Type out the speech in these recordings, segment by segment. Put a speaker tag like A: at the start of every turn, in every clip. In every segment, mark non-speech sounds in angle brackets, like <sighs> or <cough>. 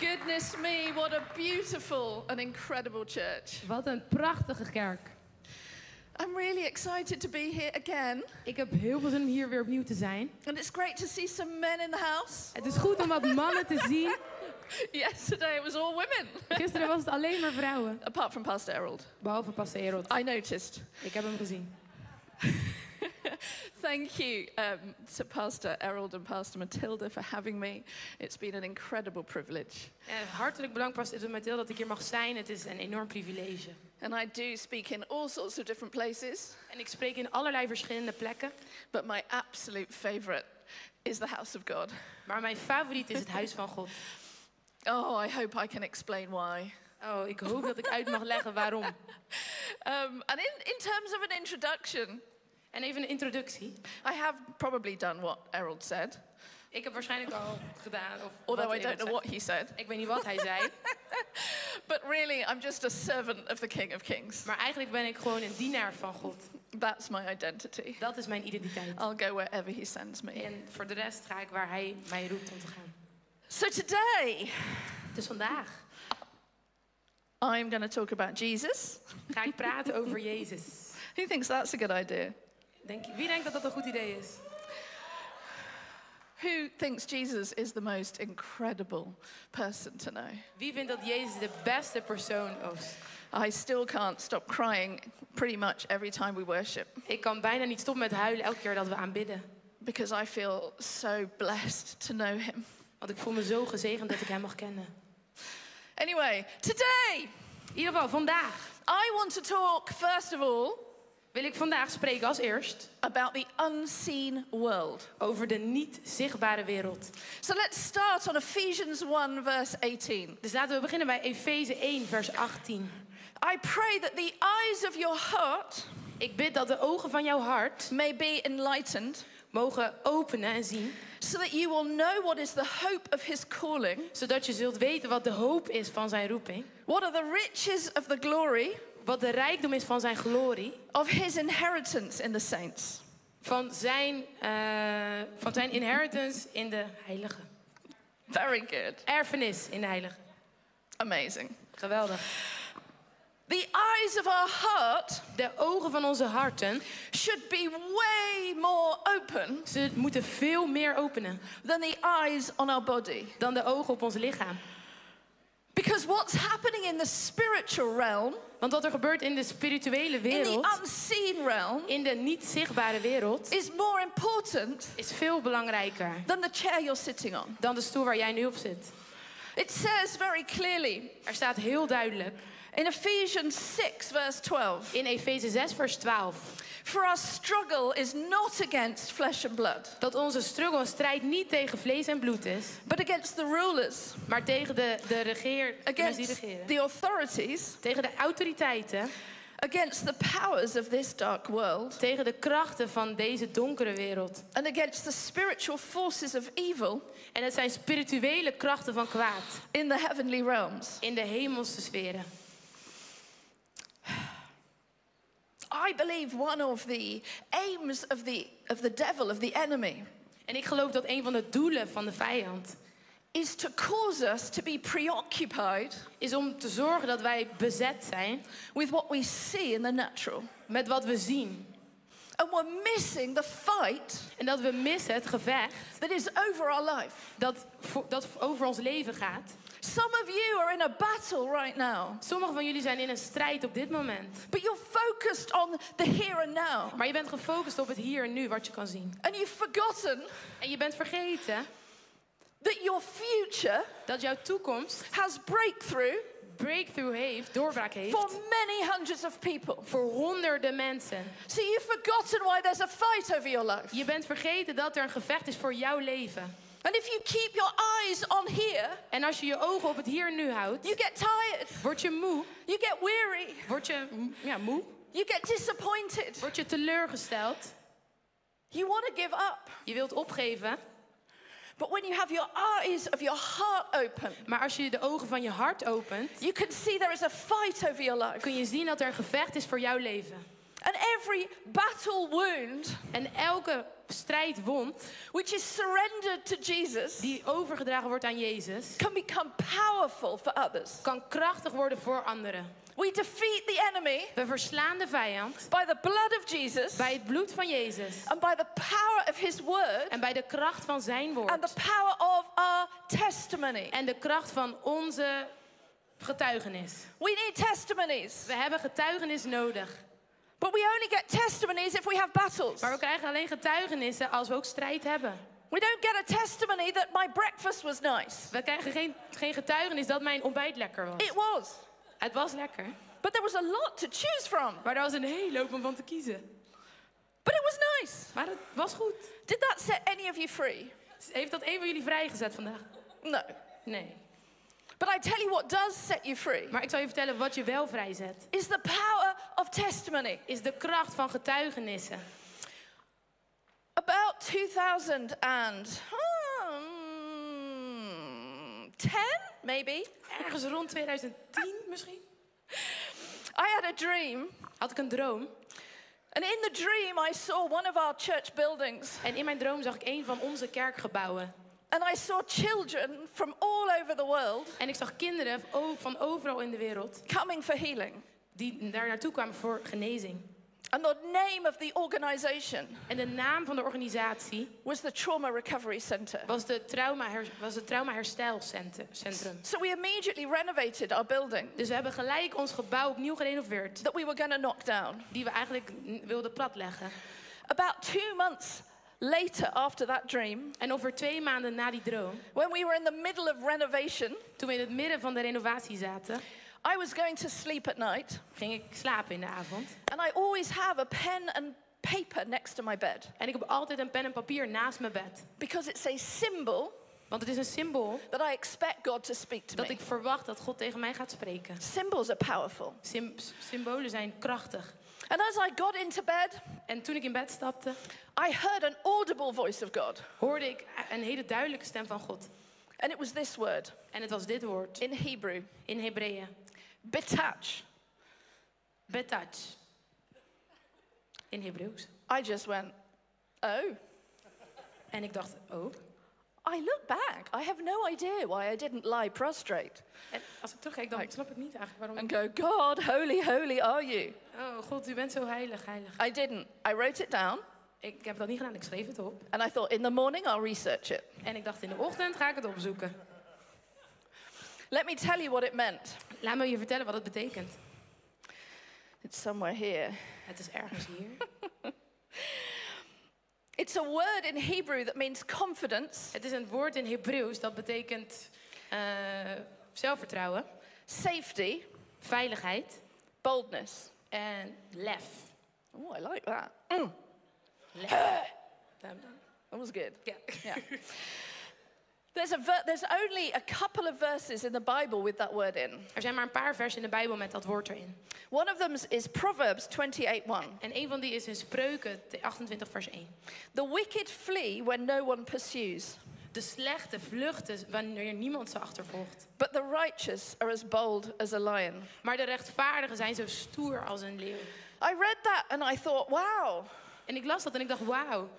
A: Goodness me, what a beautiful and incredible church.
B: Wat een prachtige kerk.
A: I'm really excited to be here again,
B: Ik heb heel veel zin om hier weer opnieuw te zijn.
A: and it's great to see some men in the house. <laughs>
B: Het is goed om wat mannen te zien.
A: Yesterday it was all women,
B: Gisteren was het alleen maar vrouwen.
A: apart from Pastor Errol.
B: Behalve Pastor Erod.
A: I noticed.
B: Ik heb hem gezien.
A: Thank you um, to Pastor Errol and Pastor Matilda for having me. It's been an incredible privilege.
B: Eh, hartelijk bedankt, Pastor Mathilde, dat ik hier mag zijn. Het is een enorm privilege.
A: And I do speak in all sorts of different places,
B: En ik spreek in allerlei verschillende plekken.
A: but my absolute favorite is the house of God.
B: Maar mijn favoriet is het huis van God.
A: Oh, I hope I can explain why.
B: Oh, ik hoop dat ik uit mag leggen waarom.
A: Um, and in, in terms of an introduction,
B: En even een introductie.
A: I have probably done what Errol said,
B: Ik heb waarschijnlijk al gedaan. Of
A: although
B: wat
A: I don't
B: iemand
A: know
B: zei.
A: what he said.
B: Ik weet niet wat hij zei.
A: But really, I'm just a servant of the King of Kings.
B: Maar eigenlijk ben ik gewoon een dienaar van God.
A: That's my identity.
B: Dat is mijn identiteit.
A: I'll go wherever he sends me.
B: En voor de rest ga ik waar hij mij roept om te gaan.
A: So today,
B: Dus vandaag
A: I'm going to talk about Jesus.
B: ga ik praten over Jezus.
A: Who thinks that's a good idea?
B: Denk, wie denkt dat dat een goed idee is?
A: Who thinks Jesus is the most incredible person to know?
B: Wie vindt dat Jezus de beste persoon is?
A: I still can't stop crying pretty much every time we worship
B: Ik kan bijna niet stoppen met huilen elke keer dat we aanbidden.
A: because I feel so blessed to know him.
B: Want ik voel me zo gezegend dat ik hem mag kennen.
A: Anyway, today
B: In ieder geval, vandaag
A: I want to talk, first of all,
B: wil ik vandaag spreken als eerst
A: about the unseen world.
B: over de niet zichtbare wereld.
A: So let's start on Ephesians 1, verse 18.
B: Dus laten we beginnen bij Efeze 1, vers 18.
A: I pray that the eyes of your heart
B: Ik bid dat de ogen van jouw hart
A: may be enlightened
B: mogen openen en zien,
A: so that you will know what is the hope of his calling,
B: zodat je zult weten wat de hoop is van zijn roeping.
A: what are the riches of the glory
B: Wat de rijkdom is van zijn glorie.
A: of his inheritance in the saints.
B: Van zijn, eh, van zijn inheritance in de heilige.
A: Very good.
B: Erfenis in de heilige.
A: Amazing.
B: Geweldig.
A: The eyes of our heart
B: De ogen van onze harten
A: should be way more open
B: ze moeten veel meer openen
A: than the eyes on our body.
B: dan de ogen op ons lichaam.
A: Because what's happening in the spiritual realm,
B: Want wat er gebeurt in de spirituele
A: in the
B: wereld,
A: unseen realm,
B: in de niet zichtbare wereld,
A: is more important
B: is veel belangrijker
A: than the chair you're sitting on.
B: dan de stoel waar jij nu op zit.
A: It says very clearly
B: Er staat heel duidelijk
A: in Ephesians 6, verse 12
B: in Efeze 6, vers 12,
A: For our struggle is not against flesh and blood,
B: dat onze struggle en strijd niet tegen vlees en bloed is,
A: but against the rulers,
B: maar tegen de, de regeer, de mensen die
A: against
B: regeren.
A: the authorities,
B: Tegen de autoriteiten,
A: against the powers of this dark world,
B: tegen de krachten van deze donkere wereld.
A: and against the spiritual forces of evil
B: En het zijn spirituele krachten van kwaad
A: in the heavenly realms.
B: in de hemelse sferen.
A: I believe one of the aims of the, of the devil, of the enemy,
B: En ik geloof dat een van de doelen van de vijand
A: is to cause us to be preoccupied
B: is om te zorgen dat wij bezet zijn
A: with what we see in the natural.
B: met wat we zien.
A: And we're missing the fight
B: En dat we missen het gevecht
A: that is over our life.
B: dat, voor- dat over ons leven gaat.
A: Some of you are in a battle right now,
B: Sommigen van jullie zijn in een strijd op dit moment.
A: but you're focused on the here and now.
B: Maar je bent gefocust op het hier en nu, wat je kan zien.
A: And you've forgotten
B: En je bent vergeten
A: that your future
B: dat jouw toekomst
A: has breakthrough
B: breakthrough heeft, doorbraak heeft.
A: for many hundreds of people.
B: voor honderden mensen.
A: So you've forgotten why there's a fight over your life.
B: Je bent vergeten dat er een gevecht is voor jouw leven.
A: And if you keep your eyes on here,
B: En als je je ogen op het hier en nu houdt,
A: you get tired,
B: word je moe,
A: you get weary,
B: word je mm, ja, moe,
A: you get disappointed,
B: word je teleurgesteld.
A: you want to give up.
B: Je wilt opgeven,
A: But when you have your eyes of your heart open,
B: maar als je de ogen van je hart opent,
A: you can see there is a fight over your life.
B: kun je zien dat er een gevecht is voor jouw leven.
A: And every battle wound
B: En elke strijd won,
A: which is surrendered to Jesus,
B: die overgedragen wordt aan Jezus,
A: can become powerful for others.
B: kan krachtig worden voor anderen.
A: We defeat the enemy
B: We verslaan de vijand
A: by the blood of Jesus
B: bij het bloed van Jezus
A: and by the power of his word
B: en bij de kracht van zijn
A: and the
B: woord
A: power of our testimony.
B: en de kracht van onze getuigenis.
A: We need testimonies,
B: We hebben getuigenis nodig.
A: but we only get testimonies if we have battles.
B: Maar we krijgen alleen getuigenissen als we ook strijd hebben.
A: We don't get a testimony that my breakfast was nice.
B: We krijgen geen, geen getuigenis dat mijn ontbijt lekker was.
A: It was,
B: Het was lekker,
A: but there was a lot to choose from,
B: maar er was een hele hoop om van te kiezen.
A: but it was nice.
B: Maar het was goed.
A: Did that set any of you free?
B: Heeft dat een van jullie vrijgezet vandaag?
A: No.
B: Nee.
A: But I tell you what does set you free
B: Maar ik zal je vertellen wat je wel vrijzet.
A: is the power of testimony.
B: Is de kracht van getuigenissen.
A: About 2000 and hmm, 10, maybe,
B: Ergens rond 2010 misschien
A: I had a dream.
B: had ik een droom.
A: And in the dream, I saw one of our church buildings.
B: En in mijn droom zag ik een van onze kerkgebouwen.
A: And I saw children from all over the world
B: En ik zag kinderen o- van overal in de wereld
A: coming for healing.
B: die daar naartoe kwamen voor genezing.
A: And the name of the organization
B: En de naam van de organisatie
A: was the Trauma Recovery Center.
B: was, de trauma, her- was het Trauma Herstelcentrum.
A: So we immediately renovated our building
B: Dus we hebben gelijk ons gebouw opnieuw gerenoveerd.
A: that we were going to knock down.
B: Die we eigenlijk n- wilden platleggen.
A: About two months later, after that dream,
B: En over twee maanden na die droom,
A: when we were in the middle of renovation,
B: toen we in het midden van de renovatie zaten,
A: I was going to sleep at night.
B: ging ik slapen in de avond.
A: And I always have a pen and paper next to my bed
B: En ik heb altijd een pen en papier naast mijn bed.
A: because it's a symbol
B: Want het is een symbool
A: that I expect God to speak to
B: dat
A: me.
B: ik verwacht dat God tegen mij gaat spreken.
A: Symbols are powerful.
B: Sym- symbolen zijn krachtig.
A: And as I got into bed,
B: En toen ik in bed stapte,
A: I heard an audible voice of God.
B: hoorde ik een hele duidelijke stem van God.
A: And it was this word
B: En het was dit woord
A: in Hebrew
B: in Hebreeën.
A: Betach.
B: Betach. In Hebreeuws.
A: I just went, oh.
B: En ik dacht, oh.
A: I look back, I have no idea why I didn't lie prostrate
B: En als ik terugkijk, dan snap ik niet eigenlijk waarom
A: and go, God, holy, holy are you.
B: Oh God, u bent zo heilig, heilig.
A: I didn't. I wrote it down
B: Ik heb dat niet gedaan, ik schreef het op.
A: and I thought, in the morning, I'll research it.
B: En ik dacht, in de ochtend ga ik het opzoeken.
A: Let me tell you what it meant.
B: Laat me je vertellen wat het betekent.
A: It's somewhere here.
B: Het is ergens hier.
A: It's a word in Hebrew that means confidence,
B: <laughs> Het is een woord in Hebreeuws dat betekent eh, zelfvertrouwen,
A: safety,
B: veiligheid
A: boldness.
B: en lef.
A: Oh, I like that.
B: Lef. Daarom dan.
A: That was good.
B: Ja.
A: <laughs> Yeah. There's, a ver- there's only a couple of verses in the Bible with that word in.
B: Er zijn maar een paar versen in de Bijbel met dat woord erin.
A: One of them is Proverbs 28:1.
B: En een van die is in Spreuken 28 vers 1.
A: The wicked flee when no one pursues,
B: De slechte vluchten wanneer niemand ze achtervolgt.
A: but the righteous are as bold as a lion.
B: Maar de rechtvaardigen zijn zo stoer als een leeuw.
A: I read that and I thought, wow.
B: En ik las dat en ik dacht, wauw.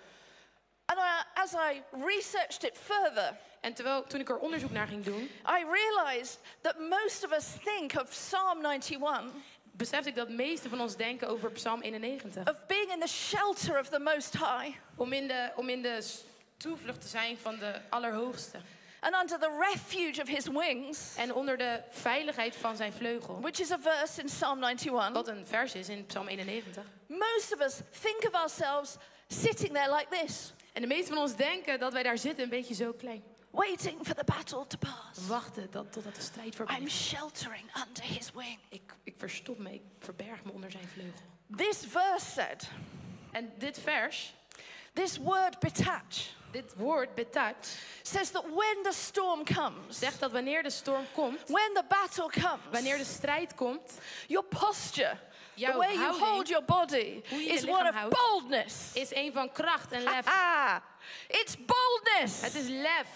A: And I, as I researched it further,
B: En terwijl, toen ik er onderzoek naar ging doen,
A: I realized that most of us think of Psalm 91
B: besefte ik dat de meesten van ons denken over Psalm 91.
A: of being in the shelter of the Most High
B: Om in de, om in de s- toevlucht te zijn van de Allerhoogste.
A: and under the refuge of his wings,
B: En onder de veiligheid van zijn vleugel.
A: which is a verse in Psalm 91.
B: Wat een vers is in Psalm 91.
A: Most of us think of ourselves sitting there like this,
B: En de meesten van ons denken dat wij daar zitten een beetje zo klein.
A: waiting for the battle to pass.
B: Wachten dat, totdat de strijd voorbij
A: I'm
B: is.
A: sheltering under his wing.
B: Ik, ik verstop me, ik verberg me onder zijn vleugel.
A: This verse said,
B: En dit vers,
A: this word betach
B: dit woord betat,
A: says that when the storm comes,
B: zegt dat wanneer de storm komt,
A: when the battle comes,
B: wanneer de strijd komt,
A: your posture, the
B: Jouw
A: way you
B: houding,
A: hold your body,
B: hoe je je
A: is
B: lichaam
A: one of
B: houdt,
A: boldness.
B: is een van kracht en lef.
A: Ah, it's boldness.
B: Het is lef,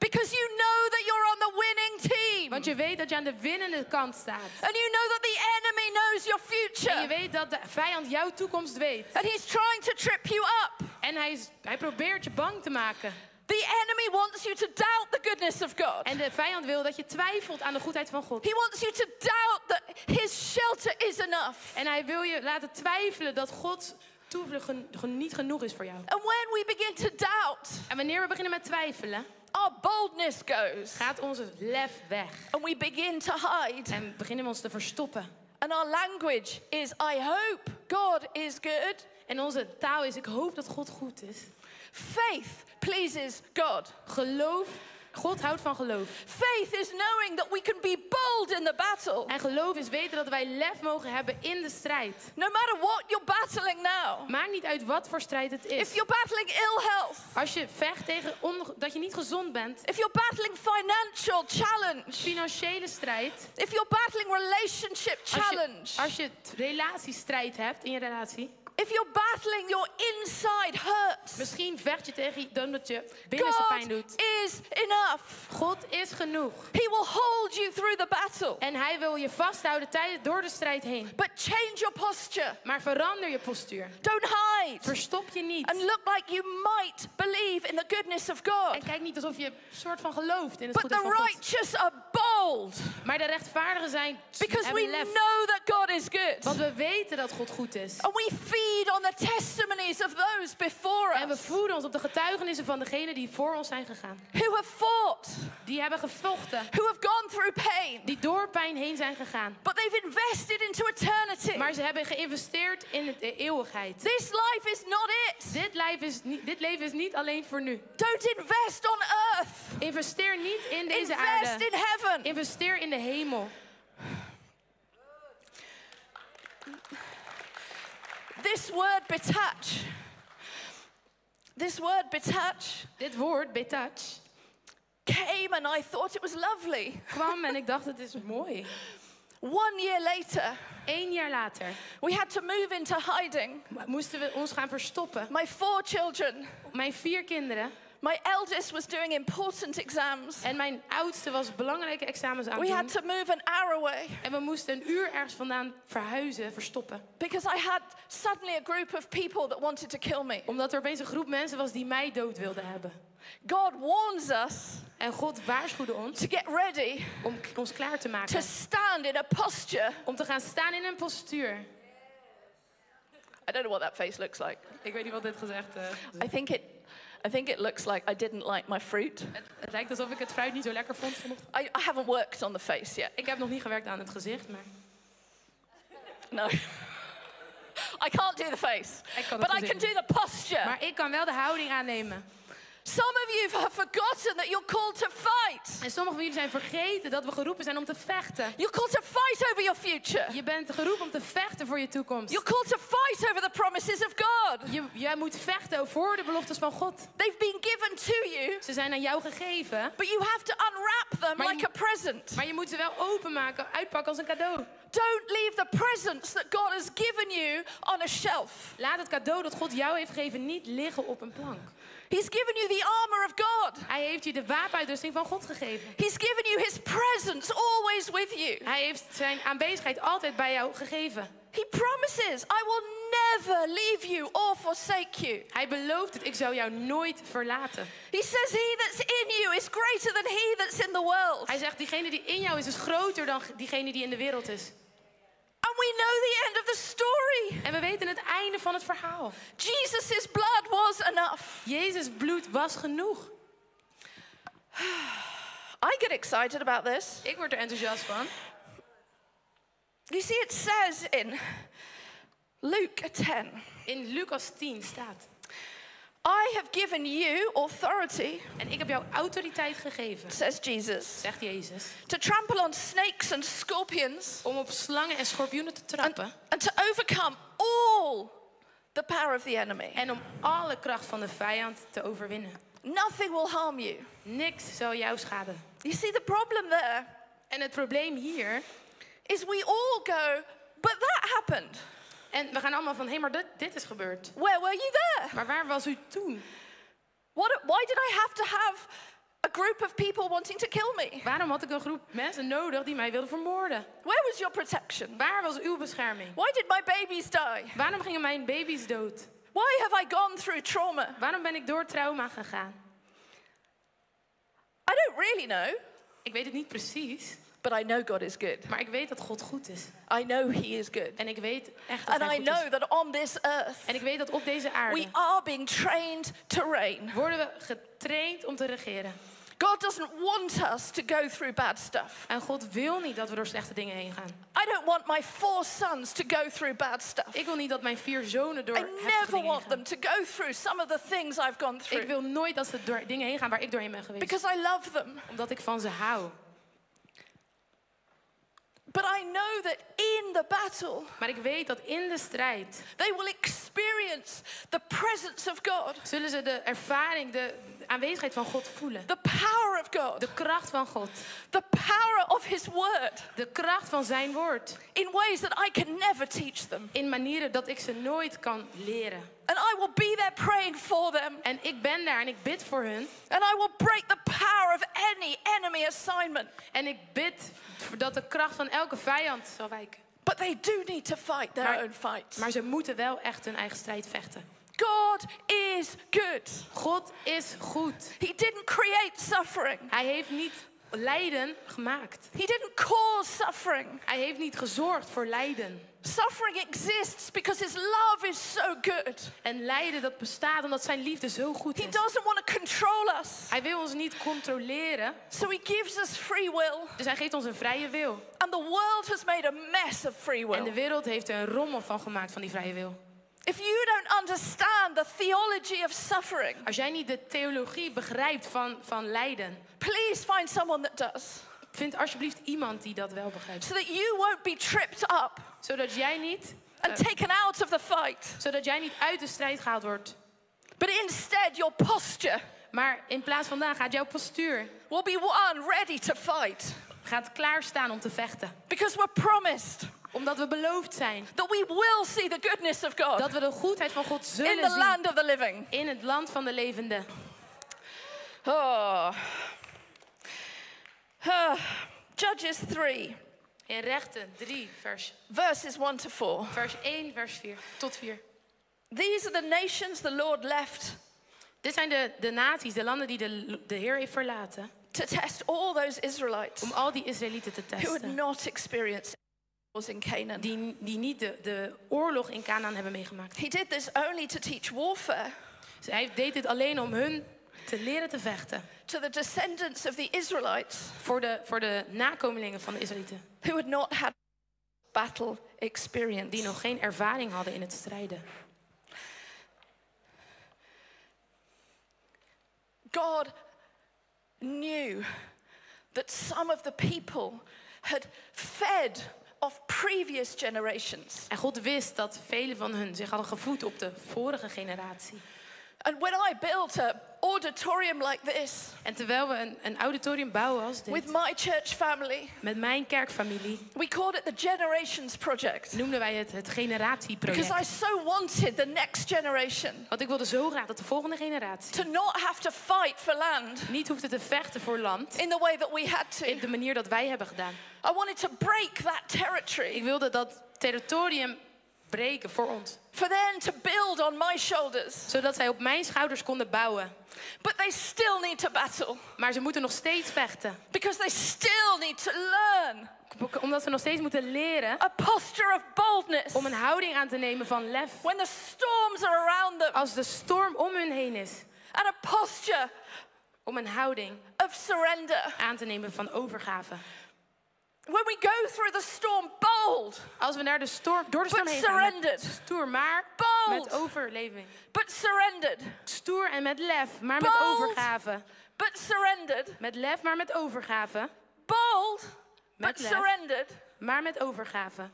A: Because you know that you're on the winning team.
B: want je weet dat je aan de winnende kant staat.
A: And you know that the enemy knows your
B: En je
A: future.
B: weet dat de vijand jouw toekomst weet.
A: And he's trying to trip you up.
B: En hij, is- hij probeert je bang te maken.
A: The enemy wants you to doubt the goodness of God.
B: En de vijand wil dat je twijfelt aan de goedheid van God.
A: He wants you to doubt that his shelter is enough.
B: En hij wil je laten twijfelen dat Gods toevlucht gen- gen- niet genoeg is voor jou.
A: And when we begin to doubt,
B: En wanneer we beginnen met twijfelen,
A: our boldness goes
B: gaat ons het lef weg.
A: and we begin to hide.
B: En beginnen we ons te verstoppen.
A: And our language is, I hope God is good.
B: En onze taal is, ik hoop dat God goed is.
A: Faith pleases God.
B: Geloof, God houdt van geloof.
A: Faith is knowing that we can be bold in the battle.
B: En geloof is weten dat wij lef mogen hebben in de strijd.
A: No matter what you're battling now,
B: Maakt niet uit wat voor strijd het
A: if
B: is.
A: you're battling ill health,
B: Als je vecht tegen onge- dat je niet gezond bent,
A: if you're battling financial challenge,
B: financiële strijd,
A: if you're battling relationship
B: als
A: challenge,
B: je, als je t- relatiestrijd hebt in je relatie,
A: if you're battling your inside hurts,
B: misschien vecht je tegen i- dan dat je binnenste pijn
A: God
B: doet.
A: is enough.
B: God is genoeg
A: He will hold you through the battle,
B: en Hij wil je vasthouden tijdens door de strijd heen.
A: but change your posture.
B: Maar verander je postuur.
A: Don't hide
B: Verstop je
A: and
B: niet.
A: look like you might believe in the goodness of God.
B: En kijk niet alsof je soort van gelooft in
A: But
B: het goede
A: the
B: van God.
A: righteous are bold
B: Maar de rechtvaardigen zijn
A: because we
B: hebben
A: know
B: lef.
A: that God is good.
B: Want we weten dat God goed is.
A: And we feed on the testimonies of those before
B: En we
A: us
B: voeden ons op de getuigenissen van degenen die voor ons zijn gegaan.
A: who have fought,
B: Die hebben gevochten.
A: who have gone through pain,
B: Die door pijn heen zijn gegaan.
A: but they've invested into eternity.
B: Maar ze hebben geïnvesteerd in het- de eeuwigheid.
A: This life is not it.
B: Dit leven, is niet, dit leven is niet alleen voor nu.
A: Don't invest on earth,
B: Investeer niet in deze
A: invest
B: aarde.
A: in heaven.
B: Investeer in de hemel.
A: This word betach, this word betach
B: Dit woord, betach,
A: came and I thought it was lovely.
B: kwam en ik dacht het is mooi.
A: One year later,
B: Eén jaar later
A: we had to move into hiding.
B: moesten we ons gaan verstoppen.
A: My four children,
B: Mijn vier kinderen
A: my eldest was doing important exams.
B: en mijn oudste was belangrijke examens aan
A: We
B: het
A: had
B: doen.
A: to move an hour away
B: En we moesten een uur ergens vandaan verhuizen, verstoppen.
A: because I had suddenly a group of people that wanted to kill me.
B: Omdat er opeens een groep mensen was die mij dood wilde hebben.
A: God warns us
B: En God waarschuwde ons
A: to get ready
B: om k- ons klaar te maken.
A: to stand in a posture.
B: Om te gaan staan in een postuur.
A: I don't know what that face looks like.
B: Ik weet niet wat dit gezegd eh,
A: I think it, I think it looks like I didn't like my fruit.
B: het, het lijkt alsof ik het fruit niet zo lekker vond vanochtend.
A: I, I haven't worked on the face yet.
B: Ik heb nog niet gewerkt aan het gezicht, maar
A: No. <laughs> I can't do the face,
B: ik kan het
A: but I
B: gezicht
A: can do
B: niet.
A: the posture.
B: Maar ik kan wel de houding aannemen.
A: Some of you have forgotten that you're called to fight.
B: En sommigen van jullie zijn vergeten dat we geroepen zijn om te vechten.
A: You're called to fight over your future.
B: Je bent geroepen om te vechten voor je toekomst.
A: You're called to fight over the promises of God.
B: Je, jij moet vechten voor de beloftes van God.
A: They've been given to you,
B: Ze zijn aan jou gegeven,
A: but you have to unwrap them
B: Maar je
A: like
B: moet-
A: a present.
B: maar je moet ze wel openmaken, uitpakken als een cadeau.
A: Don't leave the presents that God has given you on a shelf.
B: Laat het cadeau dat God jou heeft gegeven niet liggen op een plank.
A: He's given you the armor of God.
B: Hij heeft je de wapenuitrusting van God gegeven.
A: He's given you his presence always with you.
B: Hij heeft zijn aanwezigheid altijd bij jou gegeven.
A: He promises, I will never leave you or forsake you.
B: Hij belooft het, ik zou jou nooit verlaten.
A: He says, He that's in you is greater than he that's in the world.
B: Hij zegt, diegene die in jou is, is groter dan diegene die in de wereld is.
A: And we know the end of the story.
B: En we weten het einde van het verhaal.
A: Jesus' blood was enough.
B: Jezus bloed was genoeg.
A: I get excited about this.
B: Ik word er enthousiast van.
A: You see, it says in Luke 10
B: In Lucas 10 staat.
A: I have given you authority,
B: En ik heb jou autoriteit gegeven,
A: says Jesus,
B: zegt Jezus.
A: to trample on snakes and scorpions
B: Om op slangen en schorpioenen te
A: and,
B: trappen.
A: and to overcome all the power of the enemy.
B: En om alle kracht van de vijand te overwinnen.
A: Nothing will harm you.
B: Niks zal jou schaden.
A: You see, the problem there
B: En het probleem hier.
A: is we all go, but that happened.
B: En we gaan allemaal van, hé, maar dit, dit is gebeurd.
A: Where were you there?
B: Maar waar was u toen?
A: What, why did I have to have a group of people wanting to kill me?
B: Waarom had ik een groep mensen nodig die mij wilden vermoorden?
A: Where was your protection?
B: Waar was uw bescherming?
A: Why did my babies die?
B: Waarom gingen mijn baby's dood?
A: Why have I gone through trauma?
B: Waarom ben ik door trauma gegaan?
A: I don't really know,
B: Ik weet het niet precies,
A: but I know God is good.
B: maar ik weet dat God goed is.
A: I know He is good.
B: En ik weet echt dat
A: And
B: hij
A: I
B: goed is.
A: know that on this earth,
B: En ik weet dat op deze
A: we
B: aarde
A: are being trained to reign.
B: worden we getraind om te regeren.
A: God doesn't want us to go through bad stuff.
B: En God wil niet dat we door slechte dingen heen gaan.
A: I don't want my four sons to go through bad stuff.
B: Ik wil niet dat mijn vier zonen door
A: I
B: heftige
A: never
B: dingen heen
A: want them
B: gaan.
A: to go through some of the things I've gone
B: Ik
A: through
B: wil nooit dat ze door dingen heen gaan waar ik doorheen ben geweest.
A: because I love them.
B: Omdat ik van ze hou.
A: But I know that in the battle,
B: Maar ik weet dat in de strijd
A: they will experience the presence of God,
B: zullen ze de ervaring, de aanwezigheid van God voelen.
A: the power of God,
B: De kracht van God.
A: the power of His Word
B: De kracht van zijn woord.
A: in ways that I can never teach them.
B: In manieren dat ik ze nooit kan leren.
A: And I will be there praying for them,
B: En ik ben daar en ik bid voor hun.
A: and I will break the power of any enemy assignment.
B: En ik bid dat de kracht van elke vijand zal wijken.
A: But they do need to fight their
B: Maar-
A: own fights.
B: Maar ze moeten wel echt hun eigen strijd vechten.
A: God is good.
B: God is goed.
A: He didn't create suffering.
B: Hij heeft niet lijden gemaakt.
A: He didn't cause suffering.
B: Hij heeft niet gezorgd voor lijden.
A: Suffering exists because his love is so good.
B: En lijden dat bestaat omdat zijn liefde zo goed
A: He
B: is.
A: doesn't want to control us.
B: Hij wil ons niet controleren,
A: So he gives us free will.
B: dus hij geeft ons een vrije wil.
A: And the world has made a mess of free
B: En
A: will.
B: de wereld heeft er een rommel van gemaakt van die vrije wil.
A: If you don't understand the theology of suffering,
B: Als jij niet de theologie begrijpt van, van lijden,
A: please find someone that does
B: vind alsjeblieft iemand die dat wel begrijpt.
A: so that you won't be tripped up
B: Zodat jij niet,
A: and taken out of the fight.
B: zodat jij niet uit de strijd gehaald wordt.
A: But instead, your posture
B: Maar in plaats van daar gaat jouw postuur
A: will be one ready to fight
B: gaat klaarstaan om te vechten.
A: because we're promised
B: Omdat we beloofd zijn
A: that we will see the goodness of God
B: dat we de goedheid van God
A: in
B: zullen
A: the
B: zien
A: land of the living.
B: in het land van de levenden.
A: <sighs> Oh. Ah. Judges 3,
B: In rechten 3, vers,
A: verses 1 to 4.
B: vers 1, vers 4 tot 4.
A: These are the nations the Lord left
B: Dit zijn de, de naties, de landen die de, de Heer heeft verlaten.
A: to test all those Israelites
B: Om al die Israëlieten te
A: who had
B: testen.
A: not experienced wars in Canaan.
B: Die, die niet de, de oorlog in Canaan hebben meegemaakt.
A: He did this only to teach warfare
B: Dus hij deed dit alleen om hun te leren te vechten.
A: to the descendants of the Israelites
B: Voor de, voor de nakomelingen van de Israëlieten.
A: who had not had battle experience.
B: Die nog geen ervaring hadden in het strijden.
A: God knew that some of the people had fed off previous generations.
B: En God wist dat velen van hun zich hadden gevoed op de vorige generatie.
A: And when I built an auditorium like this
B: En terwijl we een, een auditorium bouwen als dit,
A: with my church family,
B: met mijn kerkfamilie,
A: we called it the Generations Project
B: noemden wij het het
A: because
B: generatieproject.
A: I so wanted the next generation
B: Want ik wilde zo graag dat de volgende generatie
A: to not have to fight for land
B: niet hoefde te vechten voor land
A: in the way that we had
B: op
A: to.
B: de manier dat wij hebben gedaan.
A: I wanted to break that
B: Ik
A: territory
B: wilde dat territorium breken voor ons,
A: for them to build on my shoulders.
B: zodat zij op mijn schouders konden bouwen.
A: But they still need to battle.
B: Maar ze moeten nog steeds vechten,
A: Because they still need to learn
B: omdat ze nog steeds moeten leren
A: a posture of boldness
B: om een houding aan te nemen van lef.
A: when the storms are around them,
B: Als de storm om hun heen is,
A: and a posture
B: om een houding
A: of surrender.
B: aan te nemen van overgave.
A: When we go through the storm bold,
B: Als we naar de storm, door de storm
A: but
B: heen gaan, met
A: surrendered,
B: stoer, maar
A: Bold.
B: met overleving.
A: but surrendered,
B: Stoer en met lef, maar met
A: Bold.
B: overgave.
A: but surrendered,
B: Met lef, maar met overgave.
A: bold,
B: Met
A: but
B: lef.
A: surrendered.
B: Maar met overgave.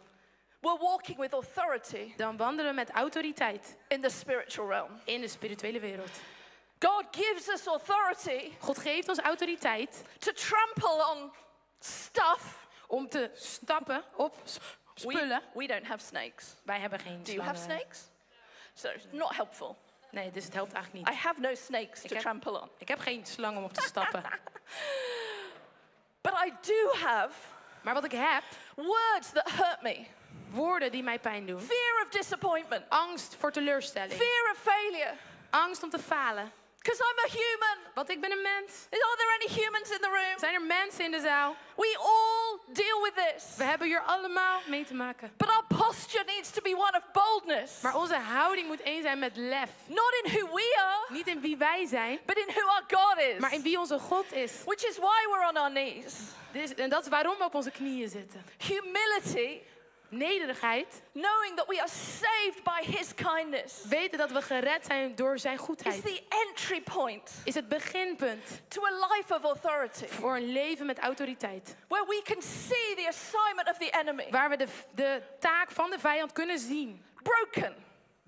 A: We're walking with authority
B: Dan wandelen we met autoriteit
A: in the spiritual realm.
B: in de spirituele wereld.
A: God gives us authority
B: God geeft ons autoriteit
A: to trample on stuff.
B: om te stappen op sp-
A: We,
B: spullen.
A: we don't have snakes.
B: Wij hebben geen
A: Do you have
B: slangen.
A: snakes? So it's not helpful.
B: Nee, dus het helpt eigenlijk
A: I
B: niet.
A: have no snakes to
B: heb-
A: trample on.
B: Ik heb geen slang om op te
A: <laughs>
B: stappen.
A: But I do have
B: Maar wat ik heb,
A: words that hurt me.
B: Woorden die mij pijn doen.
A: fear of disappointment,
B: Angst voor teleurstelling.
A: fear of failure,
B: Angst om te falen.
A: because I'm a human.
B: Want ik ben een mens.
A: Are there any humans in the room?
B: Zijn er mensen in de zaal?
A: We all deal with this.
B: We hebben hier allemaal mee te maken.
A: But our posture needs to be one of boldness,
B: Maar onze houding moet één zijn met lef.
A: not in who we are,
B: Niet in wie wij zijn,
A: but in who our God
B: maar in
A: is.
B: wie onze God is.
A: Which is why we're on our knees.
B: Dus, en dat is waarom we op onze knieën zitten.
A: Humility,
B: Nederigheid,
A: knowing that we are saved by His kindness,
B: weten dat we gered zijn door zijn
A: is
B: goedheid,
A: the entry point
B: is het beginpunt
A: to a life of authority
B: voor een leven met autoriteit.
A: where we can see the assignment of the enemy
B: Waar we de, de taak van de vijand kunnen zien.
A: broken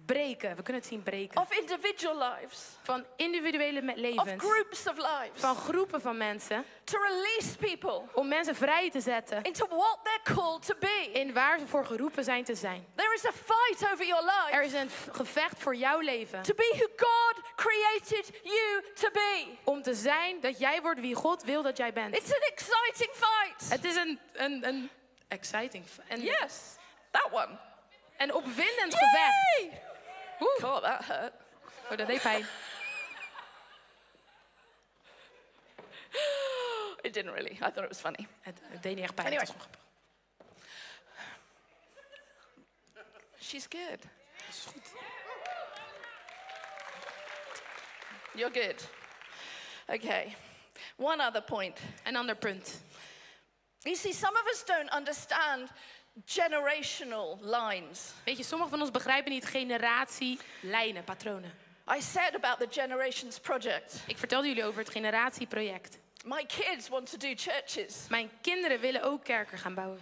B: Breken, we kunnen het zien breken.
A: of individual lives,
B: Van individuele me-
A: of
B: levens,
A: groups of lives,
B: van groepen van mensen,
A: to release people
B: om mensen vrij te zetten
A: into what they're called to be.
B: in waar ze voor geroepen zijn te zijn.
A: There is a fight over your
B: Er
A: life
B: is een v- gevecht voor jouw leven.
A: to be who God created you to be.
B: Om te zijn dat jij wordt wie God wil dat jij bent.
A: It's an exciting fight.
B: Het is een, een, een exciting f- en,
A: Yes, that one.
B: en opwindend gevecht.
A: Yay! God, that hurt.
B: Oh, dat deed pijn.
A: It didn't really. I thought it was funny.
B: Het, het deed niet echt pijn.
A: Anyway.
B: het was gewoon grappig.
A: She's good.
B: Dat is goed.
A: You're good. Okay. One other point.
B: Een ander punt.
A: You see, some of us don't understand generational lines.
B: Weet je, sommigen van ons begrijpen niet generatielijnen, patronen.
A: I said about the Generations Project.
B: Ik vertelde jullie over het generatieproject.
A: My kids want to do churches.
B: Mijn kinderen willen ook kerken gaan bouwen.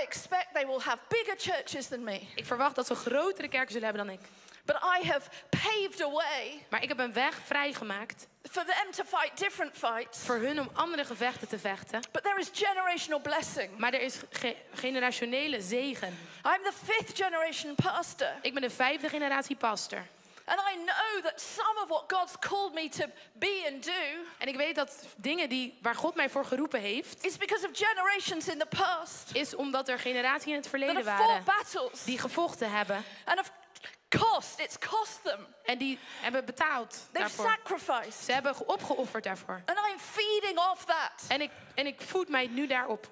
A: I expect they will have bigger churches than me.
B: Ik verwacht dat ze grotere kerken zullen hebben dan ik.
A: But I have paved a way
B: Maar ik heb een weg vrijgemaakt
A: for them to fight different fights.
B: voor hun om andere gevechten te vechten.
A: But there is generational blessing.
B: Maar er is ge- generationele zegen.
A: I'm the fifth generation pastor,
B: Ik ben de vijfde generatie pastor.
A: and I know that some of what God's called me to be and do
B: En ik weet dat dingen die, waar God mij voor geroepen heeft,
A: is because of generations in the past
B: is omdat er generaties in het
A: that
B: verleden
A: have fought
B: waren
A: battles
B: die gevochten hebben
A: and have cost. It's cost them.
B: en die hebben betaald
A: They've
B: daarvoor.
A: sacrificed.
B: Ze hebben opgeofferd daarvoor.
A: And I'm feeding off that.
B: En ik, en ik voed mij nu daarop.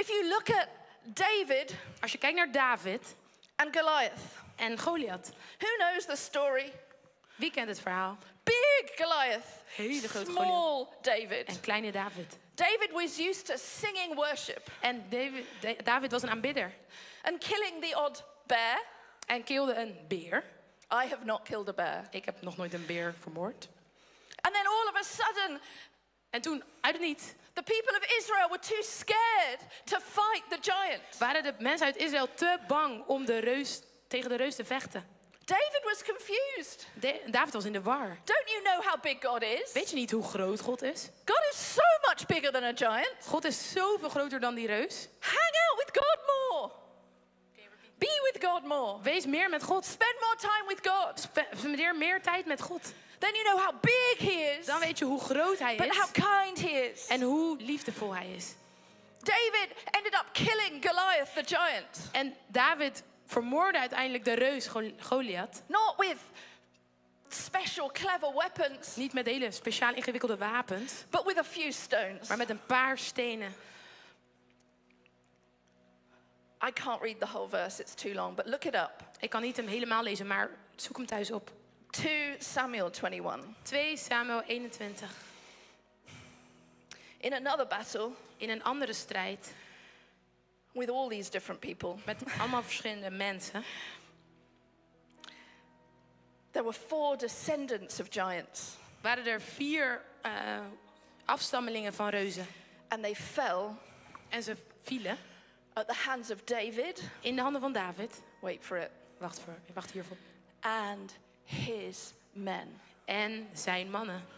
A: If you look at David
B: Als je kijkt naar David
A: and Goliath,
B: en Goliath,
A: who knows the story?
B: wie kent het verhaal?
A: Big Goliath,
B: Hele grote
A: small David.
B: En kleine David.
A: David was used to singing worship
B: En David, Da- David was een aanbidder
A: and killing the odd bear.
B: en keelde een beer.
A: I have not killed a bear.
B: Ik heb nog nooit een beer vermoord.
A: And then all of a sudden,
B: En toen, uit het niets,
A: the people of Israel were too scared to fight the giant.
B: waren de mensen uit Israël te bang om de reus, tegen de reus te vechten.
A: David was confused.
B: Da- David was in de war.
A: Don't you know how big God is?
B: Weet je niet hoe groot God is?
A: God is so much bigger than a giant.
B: God is zoveel groter dan die reus.
A: Hang out with God more. Be with God more.
B: Wees meer met God.
A: Spend more time with God.
B: Spe- Spendeer meer tijd met God.
A: Then you know how big He is,
B: Dan weet je hoe groot hij
A: but how
B: is
A: kind He is.
B: en hoe liefdevol hij is.
A: David ended up killing Goliath the giant,
B: En David vermoordde uiteindelijk de reus Gol- Goliath.
A: not with special, clever weapons,
B: Niet met hele speciaal ingewikkelde wapens,
A: but with a few stones.
B: maar met een paar stenen.
A: I can't read the whole verse, it's too long, but look it up.
B: Ik kan niet hem helemaal lezen, maar zoek hem thuis op.
A: 2 Samuel 21.
B: 2 Samuel 21.
A: In another battle
B: In een andere strijd
A: with all these different people,
B: met allemaal verschillende mensen.
A: there were four descendants of giants,
B: waren er vier eh, afstammelingen van reuzen.
A: and they fell
B: En ze vielen
A: at the hands of David.
B: in de handen van David.
A: Wait for it.
B: Wacht, voor, wacht hiervoor.
A: And his men.
B: En zijn mannen.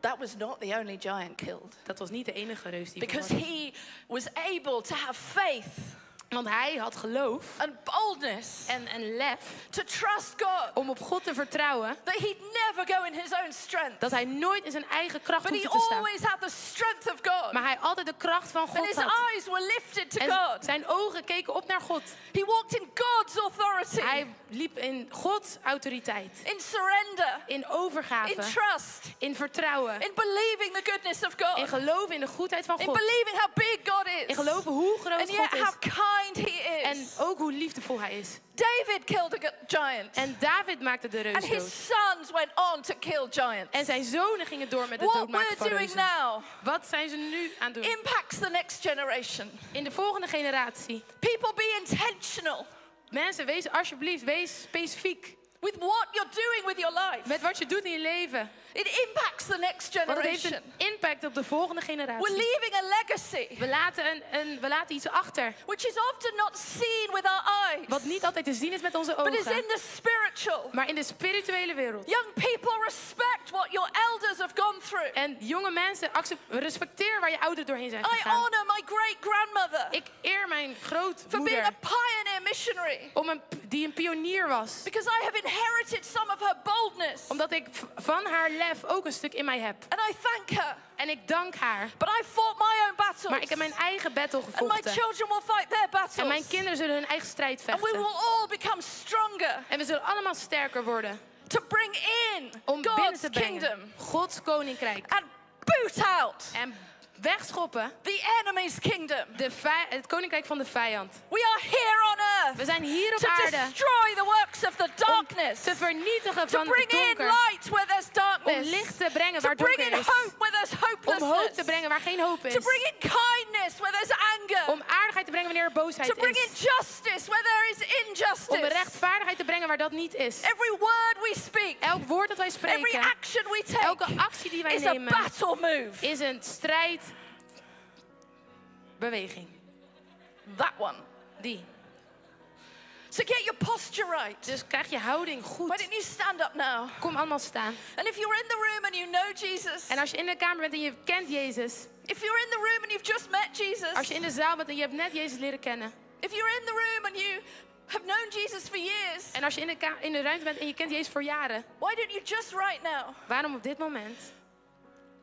A: That was not the only giant killed.
B: Dat was niet de enige reus die
A: Because
B: vermoord
A: he was able to have faith
B: werd. Want hij had geloof
A: and boldness
B: en, en lef
A: to trust God
B: om op God te vertrouwen.
A: that he'd never go in his own strength.
B: Dat hij nooit in zijn eigen kracht
A: But he
B: hoefde te staan.
A: always had the strength of God.
B: maar hij altijd de kracht van
A: and
B: God
A: his
B: had.
A: eyes were lifted to
B: En
A: God.
B: zijn ogen keken op naar God.
A: He walked in God's authority,
B: Hij liep in Gods autoriteit,
A: in surrender,
B: in
A: in
B: overgave,
A: trust,
B: in vertrouwen,
A: in believing the goodness of God,
B: in
A: in
B: geloven in de goedheid van God,
A: believing how big God
B: in
A: is,
B: geloven hoe groot
A: and yet
B: God
A: how
B: is
A: kind He
B: en
A: is.
B: ook hoe liefdevol hij is.
A: David killed a g- giant,
B: En David maakte de
A: and
B: reus
A: his
B: dood.
A: sons went on to kill giants.
B: En zijn zonen gingen door met het
A: What
B: doodmaken van
A: we're doing
B: reuzen.
A: now
B: Wat zijn ze nu aan het doen?
A: impacts the next generation.
B: In de volgende generatie.
A: People be intentional
B: Mensen, wees alsjeblieft, wees specifiek.
A: with what you're doing with your life.
B: Met wat je doet in je leven.
A: It impacts the next
B: Want het heeft
A: generation.
B: een impact op de volgende
A: We're
B: generatie.
A: leaving a legacy
B: We laten, een, een, we laten iets achter.
A: which is often not seen with our
B: Wat
A: eyes,
B: niet altijd te zien is met onze
A: but is in
B: ogen.
A: the spiritual.
B: Maar in de spirituele wereld.
A: Young people respect what your elders have gone through.
B: En jonge mensen, accep- respecteer waar je ouders doorheen zijn
A: I
B: gegaan.
A: honor my great grandmother
B: Ik eer mijn
A: for being a
B: grootmoeder.
A: pioneer missionary
B: Om een, p- die een pionier was.
A: because I have inherited some of her boldness
B: Omdat ik v- van haar lef ook een stuk in mij heb.
A: and I thank her.
B: En ik dank haar.
A: But I fought my own
B: Maar ik
A: battles
B: heb mijn eigen battle
A: and my
B: gevochten.
A: children will fight their
B: En mijn
A: battles.
B: kinderen zullen hun eigen strijd
A: And we
B: vechten.
A: will all become stronger
B: En we zullen allemaal sterker worden.
A: to bring in
B: Om binnen
A: God's
B: te
A: kingdom
B: brengen Gods koninkrijk.
A: and boot out
B: En wegschoppen
A: the enemy's kingdom.
B: de vij- het koninkrijk van de vijand.
A: We are here on
B: We
A: earth
B: zijn hier op
A: to
B: aarde
A: destroy the works of the darkness,
B: te vernietigen
A: to
B: van
A: bring
B: het
A: in
B: donker.
A: light where there's
B: Om
A: darkness,
B: licht te brengen
A: to
B: waar
A: bring in
B: donker is.
A: hope where there's
B: Om hoop te
A: hopelessness,
B: brengen waar geen hoop
A: to bring
B: is.
A: in kindness where there's anger,
B: Om aardigheid te brengen wanneer er
A: to
B: boosheid
A: bring in
B: is.
A: justice where there is
B: Om
A: injustice.
B: rechtvaardigheid te brengen waar dat niet is.
A: Every word we speak,
B: Elk woord dat wij
A: every
B: spreken,
A: action we
B: elke
A: take
B: actie die wij
A: is a
B: nemen,
A: battle move.
B: is een strijdbeweging.
A: That one.
B: Die.
A: So get your posture right.
B: Dus krijg je houding
A: Why
B: goed.
A: don't you stand up now?
B: Kom allemaal staan.
A: And if you're in the room and you know Jesus,
B: En als je in de kamer bent en je kent Jezus.
A: if you're in the room and you've just met Jesus,
B: Als je in de zaal bent en je hebt net Jezus leren kennen.
A: if you're in the room and you have known Jesus for years,
B: En als je in de, ka- in de ruimte bent en je kent Jezus voor jaren.
A: why don't you just right now
B: Waarom op dit moment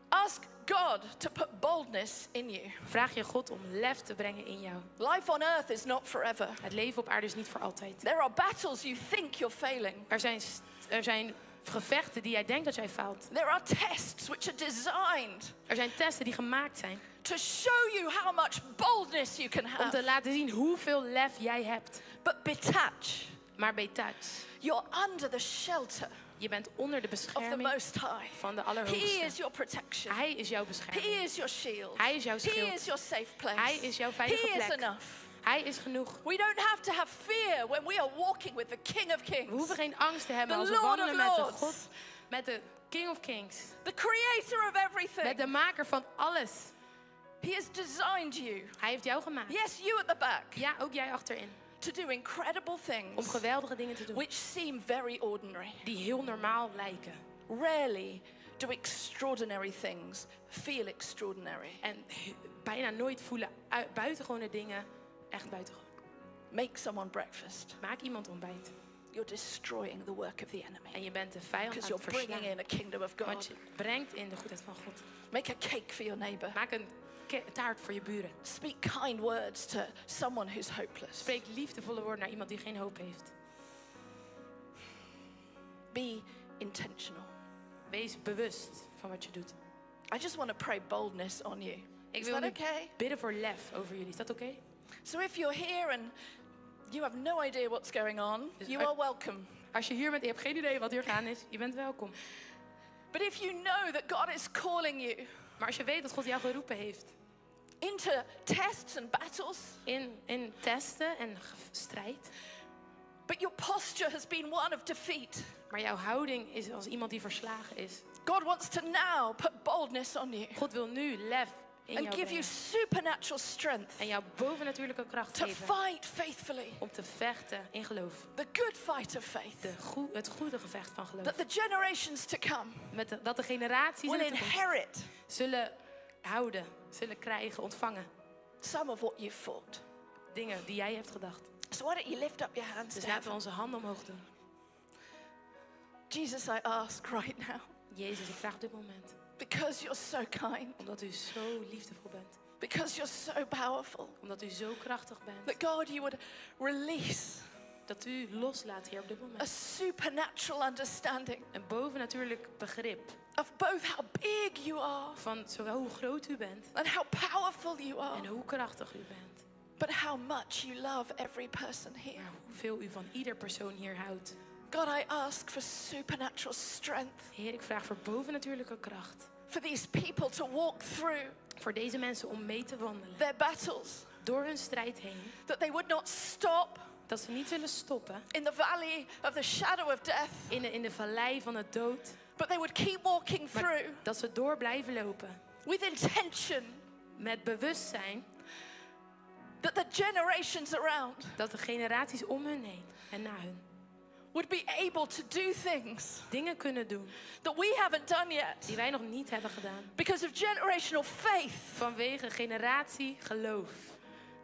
A: ask God to put boldness in you?
B: vraag je God om lef te brengen in jou?
A: Life on earth is not forever.
B: Het leven op aarde is niet voor altijd.
A: There are battles you think you're failing.
B: Er zijn, st- er zijn gevechten die jij denkt dat jij faalt.
A: There are tests which are designed
B: Er zijn testen die gemaakt zijn.
A: to show you how much boldness you can
B: Om te
A: have.
B: laten zien hoeveel lef jij hebt.
A: But betach,
B: Maar betouch,
A: you're under the shelter
B: je bent onder de
A: of the
B: bescherming
A: Most High.
B: van de
A: He
B: Allerhoogste.
A: is your protection.
B: Hij is jouw bescherming.
A: He is your shield.
B: Hij is jouw
A: He
B: schild.
A: is your safe place.
B: Hij is jouw
A: He
B: veilige
A: is
B: plek.
A: enough.
B: Hij is genoeg.
A: We don't have to have fear when we are walking with the King of Kings,
B: We hoeven geen angst te hebben
A: The
B: als we
A: Lord of
B: wandelen met de
A: Lords.
B: God, met de King of Kings,
A: the Creator of everything.
B: met de maker van alles.
A: He has designed you.
B: Hij heeft jou gemaakt.
A: Yes, you at the back
B: Ja, ook jij achterin.
A: to do incredible
B: Om
A: things
B: geweldige dingen te doen
A: which seem very ordinary.
B: die heel normaal lijken.
A: Rarely do extraordinary things feel extraordinary.
B: En he- bijna nooit voelen ui- buitengewone dingen echt buitengewoon.
A: Make someone breakfast.
B: Maak iemand ontbijt
A: You're destroying the work of the enemy
B: en je bent de vijand
A: because
B: aan
A: you're
B: het
A: bringing in a
B: verslaan.
A: kingdom of God.
B: Want je brengt in de goedheid van God.
A: Make a cake for your neighbor.
B: Maak een ke- taart voor je buren.
A: Speak kind words to someone who's hopeless.
B: Spreek liefdevolle woorden naar iemand die geen hoop heeft.
A: Be intentional.
B: Wees bewust van wat je doet.
A: I just want to pray boldness on you.
B: Ik
A: Is
B: wil
A: that
B: nu
A: okay?
B: bidden voor lef over jullie. Is dat oké?
A: So if you're here and you have no idea what's going on,
B: Is-
A: you
B: I-
A: are welcome.
B: Als je hier bent en je hebt geen idee wat hier gaan is, je bent welkom.
A: But if you know that God is calling you
B: Maar als je weet dat God jou geroepen heeft
A: into tests and battles,
B: in, in testen en ge- strijd,
A: but your posture has been one of defeat,
B: maar jouw houding is als iemand die verslagen is.
A: God wants to now put boldness on you
B: God wil nu lef in
A: and
B: jou
A: give you
B: brengen.
A: supernatural strength
B: En jou bovennatuurlijke kracht
A: to
B: geven
A: fight faithfully
B: om te vechten in geloof.
A: the good fight of faith.
B: De goe- het goede gevecht van geloof.
A: That the generations to come
B: Met de- dat de generaties in
A: will
B: de toekomst
A: inherit
B: zullen houden, zullen krijgen, ontvangen.
A: some of what you fought.
B: Dingen die jij hebt gedacht.
A: So why don't you lift up your hands
B: Dus
A: to
B: laten
A: heaven?
B: we onze handen omhoog doen.
A: Jesus, I ask right now,
B: Jezus, ik vraag op dit moment.
A: because you're so kind,
B: Omdat u zo liefdevol bent.
A: because you're so powerful.
B: Omdat u zo krachtig bent.
A: That God, you would release
B: Dat u loslaat, Heer, op dit
A: a
B: moment.
A: supernatural understanding
B: Een bovennatuurlijk begrip
A: of both how big you are
B: van zowel hoe groot u bent
A: and how powerful you are,
B: en hoe krachtig u bent.
A: but how much you love every person here.
B: Maar hoeveel u van ieder persoon hier houdt.
A: God, I ask for supernatural strength
B: Heer, ik vraag voor bovennatuurlijke kracht.
A: for these people to walk through
B: Voor deze mensen om mee te wandelen.
A: their battles,
B: Door hun strijd heen.
A: that they would not stop
B: Dat ze niet zullen stoppen
A: in the valley of the shadow of death,
B: in de, in de vallei van de dood.
A: but they would keep walking
B: Maar
A: through
B: dat ze door blijven lopen.
A: with intention
B: Met bewustzijn
A: that the generations around
B: dat de generaties om hun heen en na hun
A: would be able to do things
B: dingen kunnen doen
A: that we haven't done yet
B: die wij nog niet hebben gedaan.
A: because of generational faith.
B: Vanwege generatie geloof.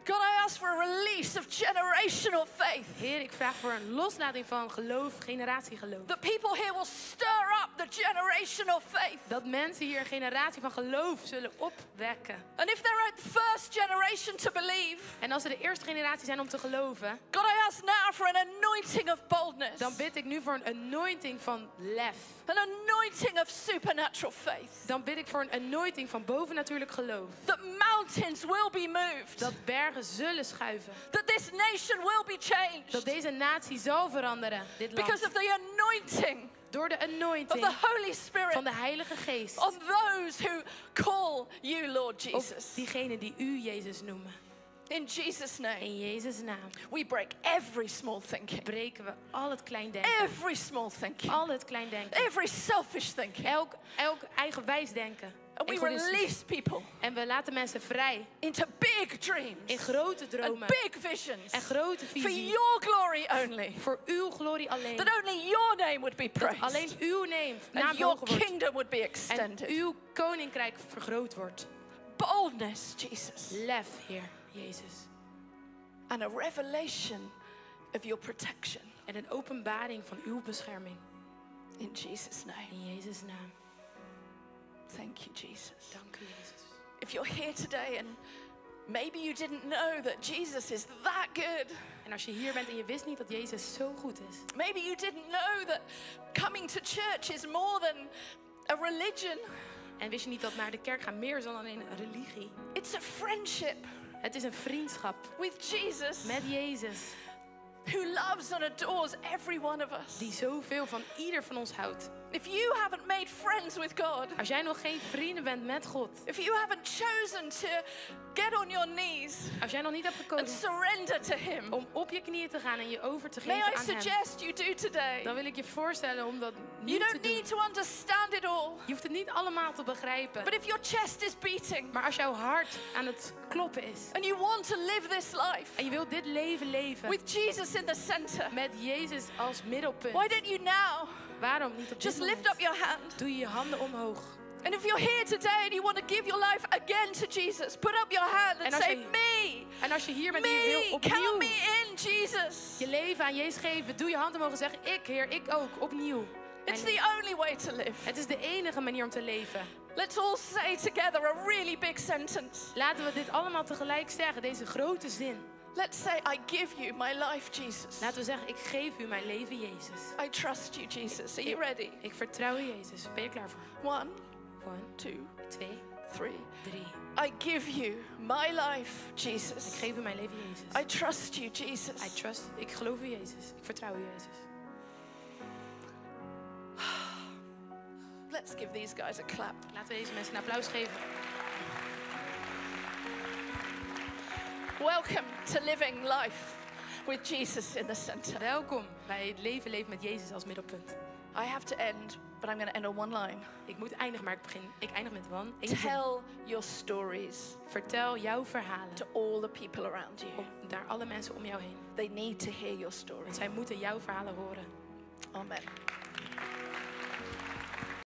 A: God, I ask for a release of generational faith.
B: Heer, ik vraag voor een loslating van geloof, generatie geloof.
A: That people here will stir up the generational faith.
B: Dat mensen hier een generatie van geloof zullen opwekken.
A: And if they're at first generation to believe,
B: En als ze de eerste generatie zijn om te geloven,
A: God, I ask now for an anointing of boldness,
B: dan bid ik nu voor een anointing van lef.
A: an anointing of supernatural faith.
B: Dan bid ik voor een anointing van bovennatuurlijk geloof.
A: That mountains will be moved,
B: Dat bergen zullen schuiven.
A: that this nation will be
B: Dat
A: changed
B: deze natie zal veranderen, dit
A: because
B: land.
A: of the anointing
B: Door de
A: of the
B: anointing
A: Holy Spirit
B: van de Heilige Geest.
A: on those who call you Lord
B: Op
A: Jesus.
B: diegenen die u Jezus noemen.
A: In Jesus' name,
B: In Jezus' naam
A: we break every small thinking,
B: breken we al het kleindenken.
A: every small thinking,
B: Al het kleindenken.
A: every selfish thinking,
B: Elk, elk eigenwijs denken.
A: and we
B: Egoïstisch.
A: release people
B: En we laten mensen vrij
A: into big
B: in
A: dreams
B: grote
A: and
B: dromen
A: big visions
B: en grote
A: for
B: visie.
A: your glory only.
B: Voor uw glorie alleen.
A: That only your name would be praised
B: Alleen uw neem, naam
A: and your
B: verhoogd wordt.
A: kingdom would be
B: En
A: extended.
B: uw koninkrijk vergroot wordt.
A: Boldness, Jesus,
B: Lef, Heer Jezus.
A: and a revelation of your protection
B: En een openbaring van uw bescherming.
A: in Jesus' name.
B: In Jezus' naam.
A: Thank you, Jesus.
B: Dank u, Jezus.
A: If you're here today and maybe you didn't know that Jesus is that good,
B: En als je hier bent en je wist niet dat Jezus zo goed is.
A: maybe you didn't know that coming to church is more than a religion,
B: En wist je niet dat naar de kerk gaan meer is dan alleen een religie.
A: it's a friendship
B: Het is een vriendschap
A: with Jesus
B: met Jezus.
A: who loves and adores every one of us.
B: Die zoveel van ieder van ons houdt.
A: If you haven't made friends with God,
B: Als jij nog geen vrienden bent met God.
A: if you haven't chosen to get on your knees
B: Als jij nog niet hebt
A: and
B: gekozen
A: surrender to Him,
B: om op je knieën te gaan en je over te
A: may
B: geven
A: I
B: aan hem.
A: suggest you do today.
B: Dan wil ik je voorstellen om dat
A: You
B: niet te
A: don't
B: doen.
A: need to understand it all,
B: Je hoeft het niet allemaal te begrijpen.
A: but if your chest is beating,
B: Maar als jouw hart aan het kloppen is.
A: and you want to live this life
B: En je wilt dit leven leven.
A: with Jesus in the center,
B: Met Jezus als middelpunt.
A: why don't you now
B: Waarom niet op dit
A: just lift
B: moment?
A: up your hand?
B: Doe je je handen omhoog.
A: And if you're here today and you want to give your life again to Jesus, put up your hand and
B: En als
A: say,
B: je-
A: Me,
B: En als je hier bent en je
A: me,
B: wil
A: count
B: opnieuw
A: me in, Jesus.
B: je leven aan Jezus geven, doe je hand omhoog en zeg ik Heer, ik ook, opnieuw.
A: It's
B: En
A: the only way to live.
B: het is de enige manier om te leven.
A: Let's all say together a really big sentence.
B: Laten we dit allemaal tegelijk zeggen, deze grote zin.
A: Let's say, I give you my life, Jesus.
B: Laten we zeggen, ik geef u mijn leven, Jezus.
A: I trust you, Jesus. Are you ready?
B: Ik vertrouw je, Jezus. Ben je klaar voor?
A: One,
B: One,
A: two,
B: twee,
A: three.
B: drie.
A: I give you my life,
B: Ik
A: Jesus.
B: geef u mijn leven, Jezus.
A: I trust you, Jesus.
B: I trust. Ik geloof u, Jezus. Ik vertrouw u, Jezus.
A: Let's give these guys a clap.
B: Laten we deze mensen een applaus geven.
A: Welcome to living life with Jesus in the center.
B: Welkom bij het leven leven met Jezus als middelpunt.
A: I have to end, but I'm going to end on one line.
B: Ik moet eindigen, maar ik begin. Ik eindig met one. Eén zin.
A: Tell your stories
B: Vertel jouw verhalen
A: to all the people around you.
B: om- naar alle mensen om jou heen.
A: They need to hear your story.
B: Want zij moeten jouw verhalen horen.
A: Amen.